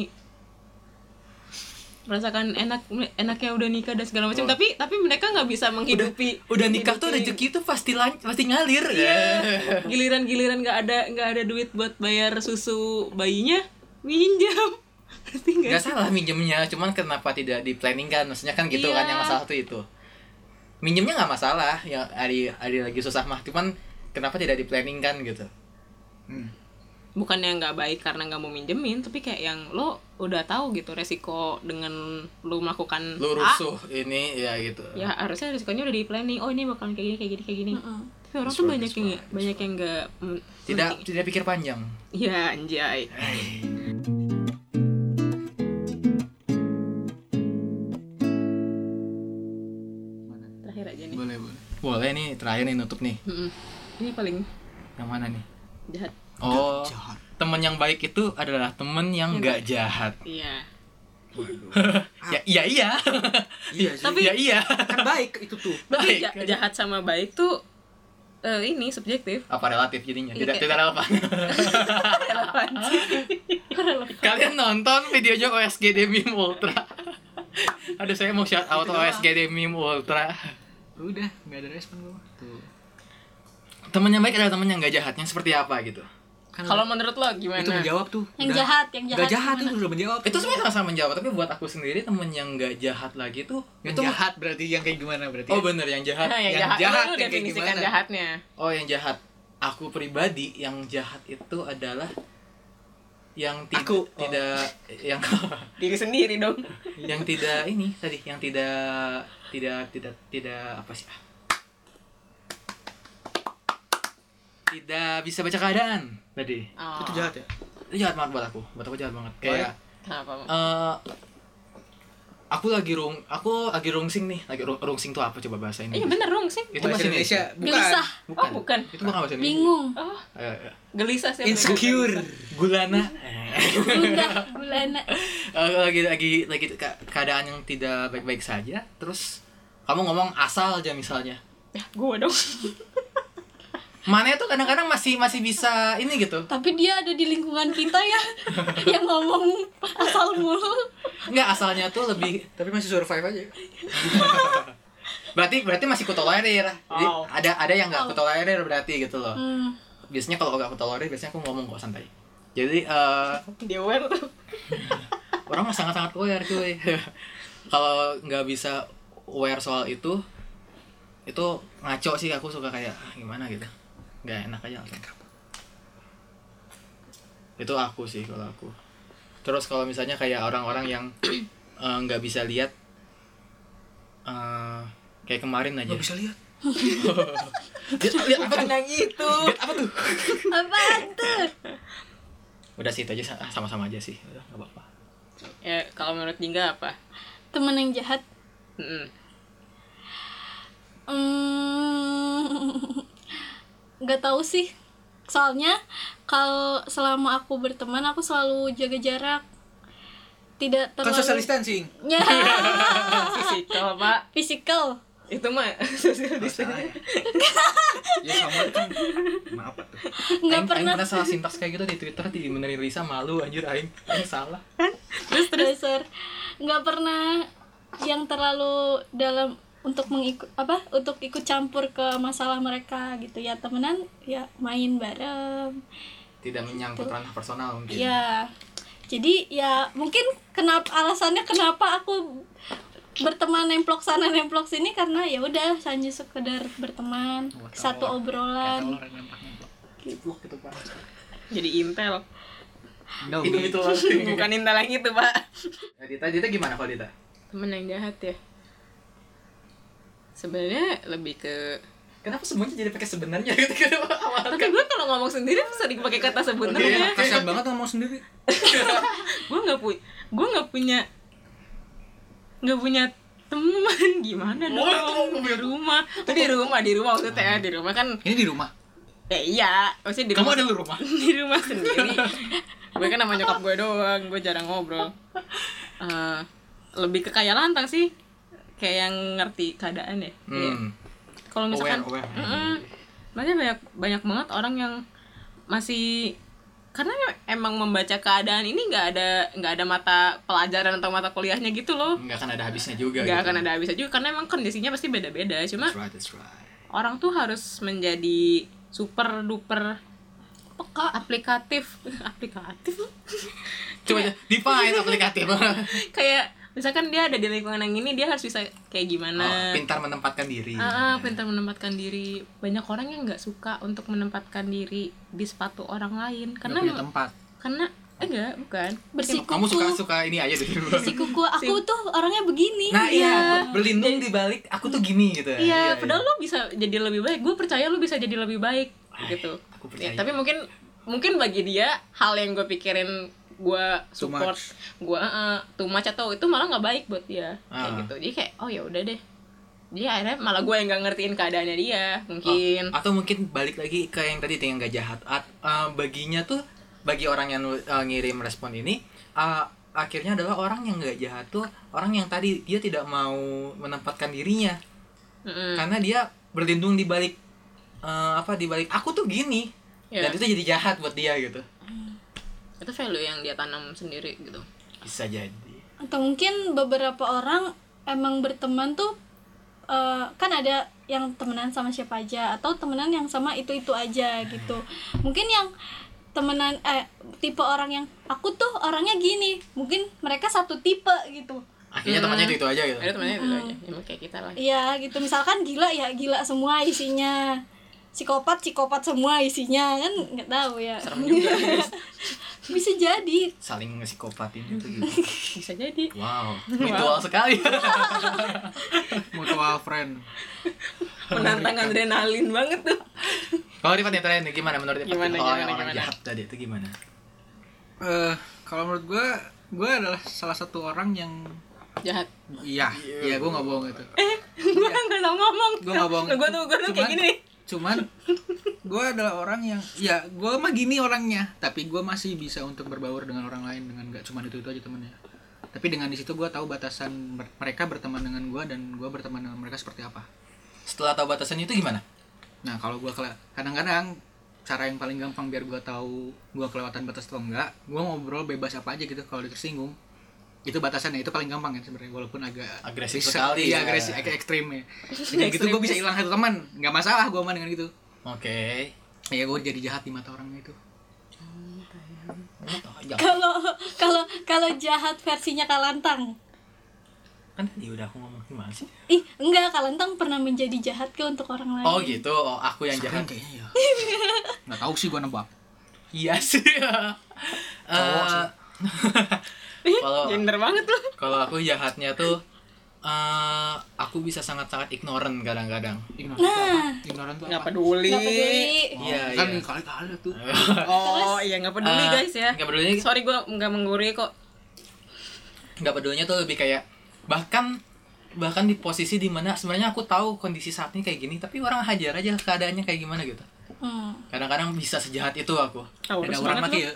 merasakan enak enaknya udah nikah dan segala macam tapi tapi mereka nggak bisa menghidupi
udah nikah tuh
menghidupi-
rezeki tuh pasti lan- pasti ngalir ya
giliran-giliran nggak ada nggak ada duit buat bayar susu bayinya minjam ngerti nggak
nggak salah minjemnya cuman kenapa tidak di planning kan maksudnya kan gitu kan
Iya.
yang masalah tuh itu minjemnya nggak masalah ya hari hari lagi susah mah cuman kenapa tidak di planning kan gitu
bukannya nggak baik karena nggak mau minjemin tapi kayak yang lo udah tahu gitu resiko dengan lo melakukan
lu
A,
rusuh ini ya gitu
Ah. ya harusnya resikonya udah di planning oh ini bakalan kayak gini kayak gini kayak gini
Mm-mm.
tapi orang
That's
tuh
right,
banyak
that's
yang
right,
banyak yang nggak mm,
tidak tidak pikir panjang
ya anjay terakhir aja nih
Boleh, boleh.
boleh nih terakhir nih nutup nih
Mm-mm. ini paling
yang mana nih
jahat
oh
Jahat.
teman yang baik itu adalah teman yang nggak jahat
iya
ya iya iya
Iya sih.
Ah. Tapi-
ya iya
kan baik itu tuh.
tapi
baik
ja- jahat sama baik tuh eh, ini subjektif
apa relatif jadinya tidak
Iya.
tidak relevan
Relevan sih.
Kalian nonton video jog OSGD Meme Ultra Aduh saya mau shout out OSGD Meme Ultra
Ya Udah, nggak ada respon gua. Tuh.
Temen yang baik adalah temen yang gak jahatnya seperti apa gitu
Kan kan
Kalau menurut lo gimana?
itu menjawab tuh
Yang
udah.
jahat, yang jahat
Nggak jahat
gimana?
itu udah menjawab
itu sebenarnya sama-sama menjawab tapi buat aku sendiri temen yang nggak jahat lagi tuh
yang
itu
jahat berarti yang kayak gimana berarti ya?
oh bener yang jahat
Nah, yang,
Yang
jahat,
jahat
lu
yang kayak
definisikan
gimana?
jahatnya.
oh yang jahat aku pribadi yang jahat itu adalah yang ti-
Aku. Oh.
tidak yang
Diri sendiri dong.
yang tidak ini tadi yang tidak tidak tidak tidak apa sih ah. tidak bisa baca keadaan tadi
Oh.
itu jahat ya
itu jahat banget buat aku buat aku jahat banget kayak
Kenapa? Bang?
eh, aku lagi rung aku lagi rungsing nih lagi rung, rungsing tuh apa coba bahasa
Iya
ini
bener dong sih.
itu
bahasa
bahasa Indonesia
Indonesia bukan
Gelisah,
bukan
Oh bukan.
itu bukan bahasa Indonesia
bingung,
Oh
Eh, eh,
gelisah sih.
insecure
gulana
gundah, gulana.
Eh, lagi lagi lagi ke- keadaan yang tidak baik-baik saja terus kamu ngomong asal aja misalnya
Ya, gue dong.
Mane tuh kadang-kadang masih masih bisa ini gitu.
Tapi dia ada di lingkungan kita ya, yang ngomong asal mulu.
Enggak asalnya tuh lebih
tapi masih survive aja
berarti berarti masih kutolerir. Jadi
Oh.
ada ada yang
Oh.
enggak kutolerir berarti gitu loh.
Hmm,
Biasanya kalau enggak kutolerir biasanya aku ngomong kok santai. Jadi eh,
Dia aware tuh.
orang mah sangat-sangat aware cuy. kalau nggak bisa aware soal itu itu ngaco sih aku suka kayak "Ah, gimana gitu. Nggak enak aja langsung. Itu aku sih kalau aku. Terus kalau misalnya kayak orang-orang yang eh, nggak bisa lihat eh, kayak kemarin aja.
nggak bisa lihat
Lihat, lihat apa
Bukan
tuh?
yang itu.
Lihat apa tuh?
apaan tuh?
Udah sih itu aja ah, sama-sama aja sih. Udah nggak apa-apa.
Ya kalau menurut Jingga apa?
Temen yang jahat.
Mm-mm.
Hmm, nggak tahu sih. Soalnya kalau selama aku berteman aku selalu jaga jarak. Tidak
kan
terlalu.
social distancing
Ya,
Physical pak.
physical.
Itu mah social distancing.
ya sama kan maaf tuh
Nggak
Aing, Aing
pernah
pernah salah sintaks kayak gitu di Twitter di benerin Risa malu anjir Aing. Aing salah.
terus dasar. Nggak pernah yang terlalu dalam untuk mengikut apa untuk ikut campur ke masalah mereka gitu ya temenan ya main bareng
tidak menyangkut ranah personal mungkin.
Iya.
Ya, jadi ya mungkin kenapa alasannya kenapa aku berteman nemplok sana nemplok sini karena ya udah hanya sekedar berteman
Oh,
Buat
satu
telur. Kayak
obrolan.
telur yang nempak-nempak. Gitu. gitu, Pak.
Jadi intel.
No,
Itu itu langsung.
Bukan intel yang itu pak.
Nah, Dita, Dita gimana kalau Dita?
Temen yang jahat ya. Sebenarnya lebih ke
Kenapa semuanya jadi pakai sebenarnya gitu kenapa awal?
tapi gue kalau ngomong sendiri sering pakai kata sebenarnya
kasihan banget ngomong sendiri
gue nggak punya gue nggak punya nggak punya teman gimana dong di rumah Oh, di rumah di rumah maksudnya ya di rumah kan
ini di rumah
ya iya maksudnya di rumah
lu rumah?
di rumah sendiri gue kan sama nyokap gue doang gue jarang ngobrol Eh, lebih ke kayak lantang sih kayak yang ngerti keadaan ya Iya.
Hmm.
kalau misalkan
Aware, aware.
Mm-mm. Maksudnya banyak banyak banget orang yang masih karena emang membaca keadaan ini nggak ada nggak ada mata pelajaran atau mata kuliahnya gitu loh
Enggak Hmm, akan ada habisnya juga.
nggak
gitu.
akan ada habisnya juga karena emang kondisinya pasti beda-beda cuma
That's right, that's right.
orang tuh harus menjadi super duper peka aplikatif aplikatif
Coba aja,
Nah.
define aplikatif. Oh,
kayak misalkan dia ada di lingkungan yang ini dia harus bisa kayak gimana
Oh, pintar menempatkan diri.
Ah, ah, pintar menempatkan diri. Banyak orang yang nggak suka untuk menempatkan diri di sepatu orang lain
Nggak
karena
punya tempat
karena eh, enggak, bukan.
Bersikuku.
Kamu suka suka ini aja diri lu.
Bersikuku. Aku tuh orangnya begini.
Nah iya,
Iya.
berlindung di balik aku tuh gini gitu.
Iya, padahal lu bisa jadi lebih baik. Gue percaya lu bisa jadi lebih baik gitu.
aku percaya.
Ya, tapi mungkin mungkin bagi dia hal yang gue pikirin gue
Too
support
much.
gue eh, too much atau itu malah nggak baik buat dia
Ah.
kayak gitu jadi kayak oh ya udah deh jadi akhirnya malah gue yang nggak ngertiin keadaannya dia mungkin
Oh, atau mungkin balik lagi ke yang tadi tuh, yang gak jahat At- eh, baginya tuh bagi orang yang eh, ngirim respon ini eh, akhirnya adalah orang yang gak jahat tuh orang yang tadi dia tidak mau menempatkan dirinya
Mm-mm.
karena dia berlindung di balik eh, apa di balik aku tuh gini
Iya.
dan itu jadi jahat buat dia gitu
itu value yang dia tanam sendiri gitu
bisa jadi
Atau mungkin beberapa orang emang berteman tuh eh, kan ada yang temenan sama siapa aja atau temenan yang sama itu itu aja gitu. Mungkin yang temenan eh, tipe orang yang aku tuh orangnya gini mungkin mereka satu tipe gitu
akhirnya
Hmm.
temannya itu itu aja gitu
ada temannya gitu aja emang kayak kita lah
Iya gitu misalkan gila ya gila semua isinya psikopat psikopat semua isinya kan nggak tahu ya
serem juga
bisa jadi
saling psikopatin itu gitu
bisa jadi
wow mutual sekali
mutual friend
menantang adrenalin banget tuh
kalau Rifat yang terakhir nih, gimana menurut Rifat
Gimana,
kalau
gimana,
yang orang
gimana?
jahat tadi itu gimana
eh kalau menurut gue gue adalah salah satu orang yang
jahat
iya iya gue nggak bohong itu
gue nggak tau ngomong
Gua nggak bohong.
gue Eh, tuh gue tuh kayak
Cuman-
gini nih.
cuman gue adalah orang yang ya gue mah gini orangnya tapi gue masih bisa untuk berbaur dengan orang lain dengan nggak cuman itu itu aja temennya tapi dengan di situ gue tahu batasan mer- mereka berteman dengan gue dan gue berteman dengan mereka seperti apa
setelah tahu batasannya itu gimana
nah kalau gue kele- kadang-kadang cara yang paling gampang biar gue tahu gue kelewatan batas atau enggak gue ngobrol bebas apa aja gitu kalau disinggung itu batasannya itu paling gampang ya sebenarnya walaupun agak
Agresif
riset-
sekali
iya
ya.
agresif agak ekstrim ya dengan gitu gue bisa hilang satu teman nggak masalah gue mah dengan gitu
oke
ya gue jadi jahat di mata orang itu
Oh, ya.
kalau kalau kalau jahat versinya kalantang
kan tadi udah aku ngomong gimana sih
ih enggak kalantang pernah menjadi jahat ke untuk orang lain
oh gitu oh, aku yang
Sering
jahat
kayaknya ya nggak tahu sih gue nebak
iya sih
Cowok sih.
Eh, kalau
gender banget loh
kalau aku jahatnya tuh eh aku bisa sangat-sangat ignorant kadang-kadang
ignoran nah. apa ignoran tuh
nggak
apa
peduli
nggak peduli
Oh,
Iya,
kan
iya.
kali-kali tuh
oh iya nggak peduli
Eh,
guys ya
nggak peduli
sorry gue nggak menggurui kok
nggak pedulinya tuh lebih kayak bahkan bahkan di posisi dimana sebenarnya aku tahu kondisi saat ini kayak gini tapi orang hajar aja keadaannya kayak gimana gitu
Hmm.
kadang-kadang bisa sejahat itu aku
tahu
ada orang mati ya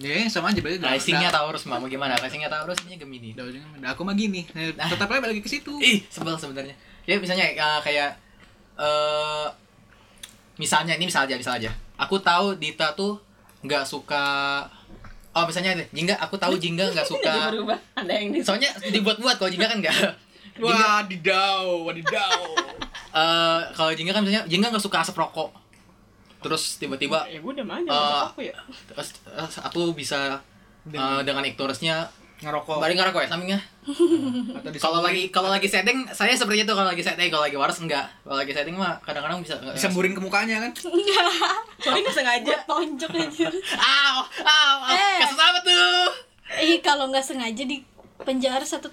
ya sama aja berarti
iya. risingnya Nah, Taurus mau gimana risingnya Taurus ini Gemini
udah ujungnya udah aku mah gini
Ah.
nah, tetap aja balik ke situ
ih sebel sebenarnya ya misalnya eh, kayak eh misalnya ini misal aja misal aja aku tahu Dita tuh nggak suka oh misalnya deh, Jingga aku tahu Jingga nggak
jadi
suka
berubah ada yang di
soalnya dibuat-buat kalau Jingga kan nggak Jingga-
wadidau wadidau
Eh, kalau Jingga kan misalnya Jingga nggak suka asap rokok terus tiba-tiba
ya gue udah manja
Eh,
uh, aku ya
terus, terus aku bisa eh, dengan ignorance-nya
ngerokok
balik ngarok ya sampingnya
atau di
kalau lagi kalau lagi setting saya seperti itu kalau lagi setting kalau lagi waras enggak kalau lagi setting mah kadang-kadang bisa
disemburin ke mukanya kan
sorry nggak sengaja
Buat tonjok aja
Aw, aw, aw.
Eh.
Kasus apa tuh?
ih kalau nggak sengaja di penjara satu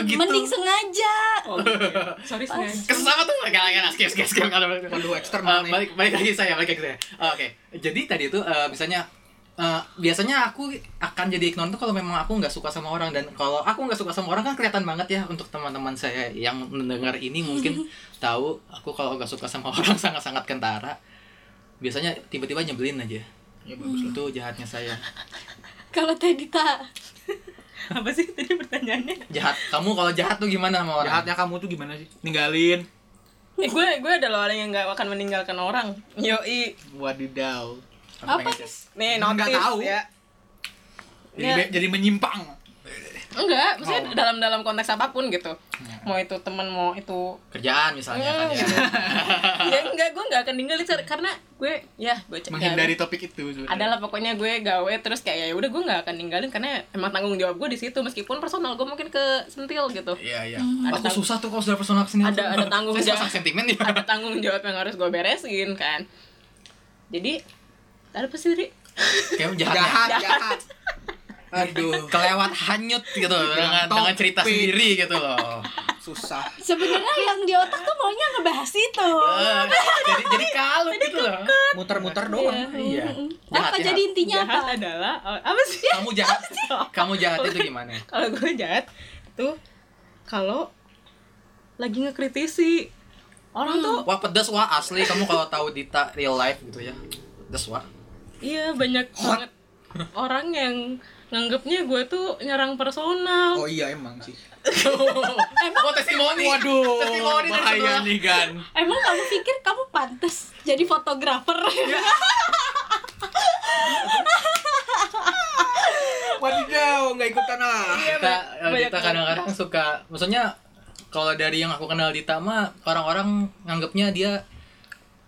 Oh, gitu.
mending sengaja
oh, gitu ya. sorry sengaja
Kasus apa tuh? Gak, gak, gak, skip, skip, skip. Gak, gak, gak.
Waduh, eksternal
Eh,
nih.
balik, balik lagi saya, balik lagi saya. Oh, Oke, jadi tadi itu eh, misalnya eh, biasanya aku akan jadi ignorant tuh kalau memang aku nggak suka sama orang dan kalau aku nggak suka sama orang kan kelihatan banget ya untuk teman-teman saya yang mendengar ini mungkin tahu aku kalau nggak suka sama orang sangat-sangat kentara biasanya tiba-tiba nyebelin aja
ya bagus
itu jahatnya saya
kalau tadi tak
apa sih tadi pertanyaannya
jahat kamu kalau jahat tuh gimana sama orang
jahatnya kamu tuh gimana sih ninggalin
eh, gue gue adalah orang yang nggak akan meninggalkan orang yoi
wadidau
Apa
pengen-
nih
Nggak
notif
tahu.
ya
jadi, be- jadi menyimpang
enggak maksudnya dalam dalam konteks apapun gitu mau itu teman mau itu
kerjaan misalnya kan ya.
Iya. ya enggak gue nggak akan ninggalin Sar. karena gue ya gue cek
menghindari topik itu sebenarnya.
adalah pokoknya gue gawe terus kayak ya udah gue nggak akan ninggalin karena emang tanggung jawab gue di situ meskipun personal gue mungkin kesentil gitu
Iya iya.
Ada
Aku
tang-
susah tuh kalau sudah personal kesini.
ada ada tanggung
Saya pasang
jawab
sentimen ya.
ada tanggung jawab yang harus gue beresin kan jadi ada apa sih Ri?
Kayak jahat. ya.
jahat jahat aduh Iya.
Kelewat hanyut gitu dengan dengan cerita
topik.
sendiri gitu loh.
susah
sebenarnya yang di otak tuh maunya ngebahas itu
Eh, jadi jadi kalut gitu loh.
muter-muter doang
Iya. Jahat,
apa
jahat.
jadi intinya
jahat
apa
adalah oh, apa sih
Kamu jahat. Kamu jahat itu gimana?
kalau gue jahat tuh kalau lagi ngekritisi orang tuh
Wah pedas wah asli kamu kalau tahu Dita real life gitu ya. Pedas wah.
iya banyak banget orang yang nganggapnya gue tuh nyerang personal
oh iya emang sih
Oh testimoni.
waduh
Testimoni dari
bahaya
sebelah.
nih kan
Emang kamu pikir kamu pantas jadi fotografer?
Iya.
Wadidaw, nggak ikutan ah.
Dita, eh,
banyak
Dita
banget.
kadang-kadang suka, maksudnya kalau dari yang aku kenal Dita mah orang-orang nganggapnya dia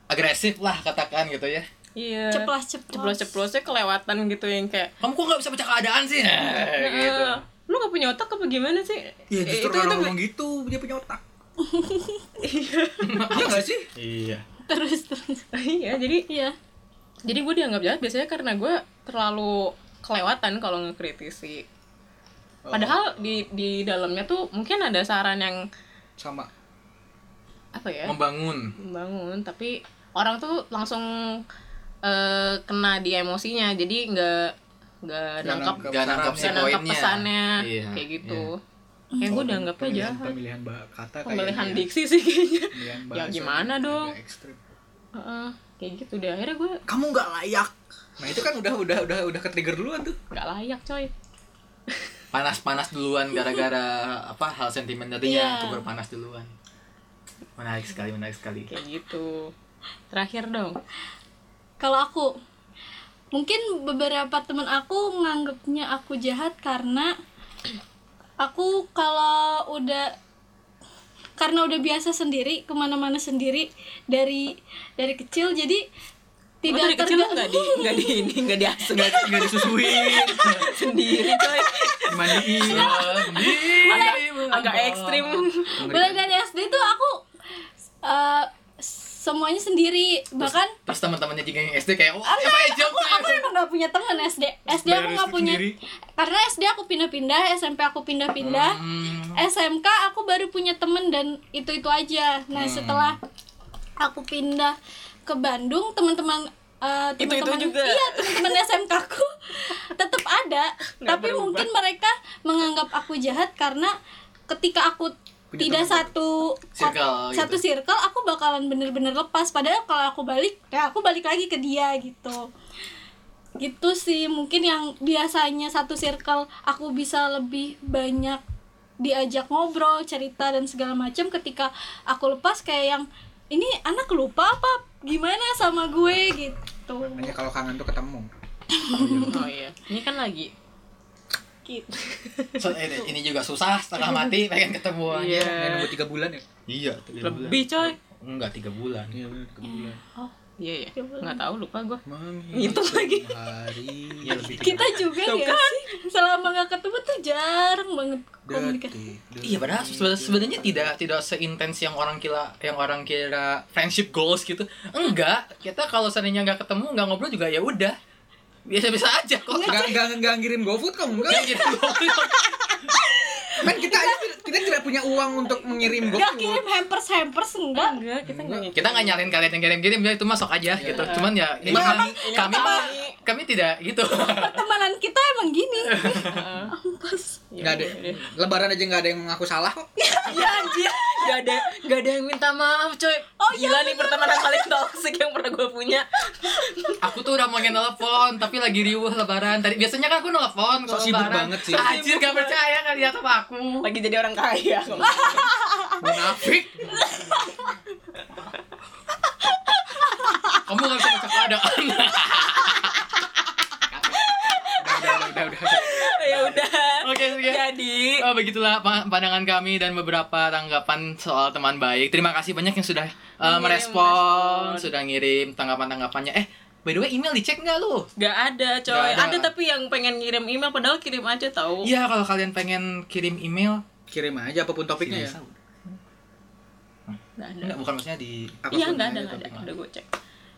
agresif lah katakan gitu ya.
Iya.
Ceplos-ceplos.
Ceplos-ceplosnya kelewatan gitu yang kayak
Kamu kok nggak bisa baca keadaan sih? Eh, gitu.
"Eh, lu gak punya otak apa gimana sih? Eh,
Ya justru
itu,
orang
itu,
ngomong gitu dia punya otak. Iya nggak sih?
Iya.
terus terus
iya, jadi
iya
jadi gue dianggap jahat biasanya karena gue terlalu kelewatan kalau ngekritisi.
Oh.
Padahal di di dalamnya tuh mungkin ada saran yang
Sama.
apa ya?
Membangun.
membangun tapi orang tuh langsung eh, kena di emosinya jadi nggak nggak nangkap
nangkep.
Gak nangkap si
nggak nangkap
poinnya.
pesannya
Iya,
kayak gitu
iya.
kayak gue udah
nggak
nggak jahat
Pemilihan bah- kata kayaknya.
pemilihan diksi sih kayaknya Ya,
Pemilihan Iya, bahasa
gimana
agak
dong?
ekstrim.
Heeh, kayak gitu deh akhirnya gue
Kamu nggak layak. Nah itu kan udah udah udah udah ke trigger duluan tuh.
nggak layak coy
Panas-panas duluan gara-gara apa hal sentimen tadinya
Iya.
aku berpanas duluan. Menarik sekali, menarik sekali.
kayak gitu terakhir dong
kalau aku mungkin beberapa teman aku nganggapnya aku jahat karena aku kalau udah karena udah biasa sendiri kemana-mana sendiri dari dari kecil jadi
Emang Oh, dari
tidak
kecil lu
terganggu
nggak di nggak di ini nggak diasuh
Nggak nggak disusuin,
sendiri coy
dimandiin.
agak ekstrim
mulai
kan?
dari SD tuh aku eh, semuanya sendiri bahkan
Terus teman-temannya juga yang SD kayak, wah,
Ah,
apa ya
enggak, aku aku
jawabnya?
emang gak punya teman SD SD aku
Bayar
gak
listrik
punya
sendiri.
karena SD aku pindah-pindah SMP aku
Hmm.
pindah-pindah SMK aku baru punya temen dan itu itu aja nah setelah aku pindah ke Bandung teman-teman eh,
Itu-itu
teman-teman-
juga.
iya teman-teman SMK aku tetap ada tapi
berubah.
mungkin mereka menganggap aku jahat karena ketika aku
Punya
tidak
teman
satu
Circle
kot-
gitu.
satu circle aku bakalan bener-bener lepas padahal kalau aku balik ya aku balik lagi ke dia gitu gitu sih mungkin yang biasanya satu circle aku bisa lebih banyak diajak ngobrol cerita dan segala macam ketika aku lepas kayak yang ini anak lupa apa gimana sama gue gitu
Makanya kalau kangen tuh ketemu.
oh iya ini kan lagi
gitu
So, ini, ini juga susah, setengah mati pengen ketemu aja.
Nggak
iya
nunggu tiga bulan ya?
Iya, tiga
lebih coy
bulan. Enggak, tiga bulan.
Iya bener, tiga bulan.
oh iya ya
Ya ampun.
nggak tahu lupa gue
Menghitung
lagi.
Hari
Iya, lebih tiga
kita juga ya sih selama nggak ketemu tuh jarang banget komunikasi
detik.
Iya padahal sebe- sebenarnya tidak tidak seintens yang orang kira yang orang kira friendship goals gitu. Enggak, kita kalau seandainya nggak ketemu, nggak ngobrol juga ya udah. Biasa-biasa aja kok.
Nggak, nggak, nggak ngirim GoFood kamu, enggak?
Kayak gitu.
Men, kita aja tidak- kita tidak punya uang untuk mengirim
nggak
GoFood
kirim hampers hampers enggak
enggak kita nggak ngikutin.
kita nggak nyalin kalian yang kirim-kirim ya itu masuk aja gitu. Cuman ya ini
Iya,
kami kami mah- kami tidak gitu.
pertemanan kita emang gini Ampes.
Nggak ada Lebaran aja nggak ada yang mengaku salah kok
Ya anjir, gak ada gak ada yang minta maaf, coy.
Oh, iya,
Gila nih pertemanan paling toksik yang pernah gue punya.
Aku tuh udah mau nelpon tapi lagi riuh lebaran. Tadi biasanya kan aku nelpon kalau
Sok sibuk
lebaran.
banget sih.
Anjir gak percaya ya, kalian sama aku.
Lagi jadi orang kaya.
Munafik. Kamu gak bisa baca keadaan.
Udah, udah, udah, udah, udah.
ya udah.
Oke, oke.
Jadi,
Oh, begitulah pa- pandangan kami dan beberapa tanggapan soal teman baik. Terima kasih banyak yang sudah uh, merespon, sudah ngirim tanggapan-tanggapannya. Eh, by the way, email dicek nggak lu?
gak ada, coy.
Nggak ada.
ada. tapi yang pengen ngirim email padahal kirim aja tahu.
Iya, kalau kalian pengen kirim email,
Kirim aja apapun topiknya ya
Bisa.
Nggak ada.
Nggak, bukan maksudnya di
Apapun
Iya, nggak ada,
aja
nggak ada.
topiknya.
Udah gue cek.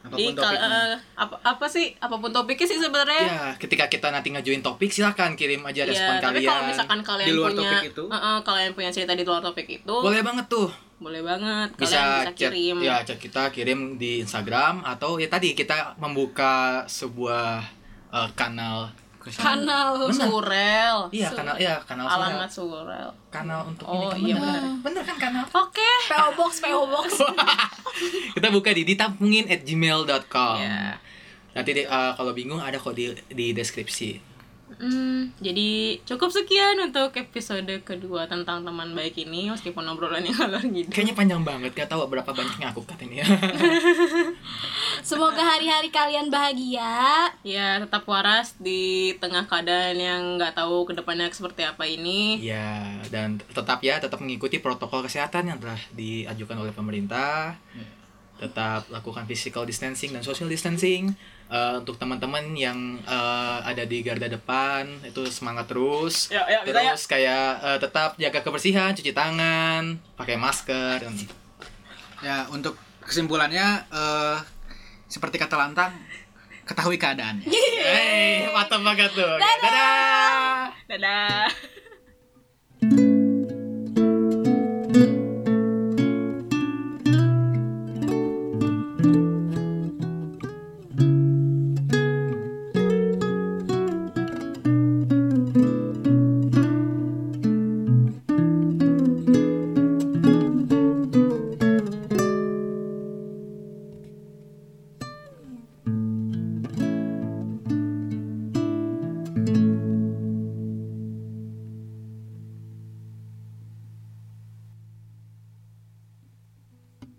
Apapun
Di kal-
topiknya.
eh, apa apa sih apapun topiknya sih sebenarnya.
Ya, ketika kita nanti ngajuin topik, silahkan kirim aja respon
Eh. Iya,
kalian.
tapi kalau misalkan kalian
Di luar
punya
topik itu?
Heeh, kalian punya cerita di luar topik itu, boleh,
boleh banget tuh.
banget. Kalian bisa,
bisa, chat,
kirim.
ya chat kita kirim di Instagram atau ya tadi kita membuka sebuah eh, kanal
kanal
Benar.
Surel.
iya kanal iya kanal sosial.
Alamat Surel.
kanal untuk
Oh,
kan,
iya,
benar.
benar.
Benar kan kanal
Oke, PO Box, PO Box.
kita buka di ditapungin at gmail.com
Iya.
nanti di- eh, kalau bingung ada kok di, di deskripsi
Hmm, jadi cukup sekian untuk episode kedua tentang teman baik ini meskipun obrolannya ngalor gitu.
kayaknya panjang banget gak tahu berapa banyaknya aku ya. katanya
Semoga hari-hari kalian bahagia.
Ya tetap waras di tengah keadaan yang nggak tahu kedepannya seperti apa ini.
Iya, dan tetap ya tetap mengikuti protokol kesehatan yang telah diajukan oleh pemerintah. tetap lakukan physical distancing dan social distancing Eh, untuk teman-teman yang eh, ada di garda depan itu semangat terus
Ya, ya, kita ya.
terus kayak eh, tetap jaga kebersihan cuci tangan pakai masker dan
Ya, untuk kesimpulannya eh, seperti kata lantang,
Iya.
ketahui keadaannya.
Yeay, mantap banget tuh Oke, dadah!
Dadah.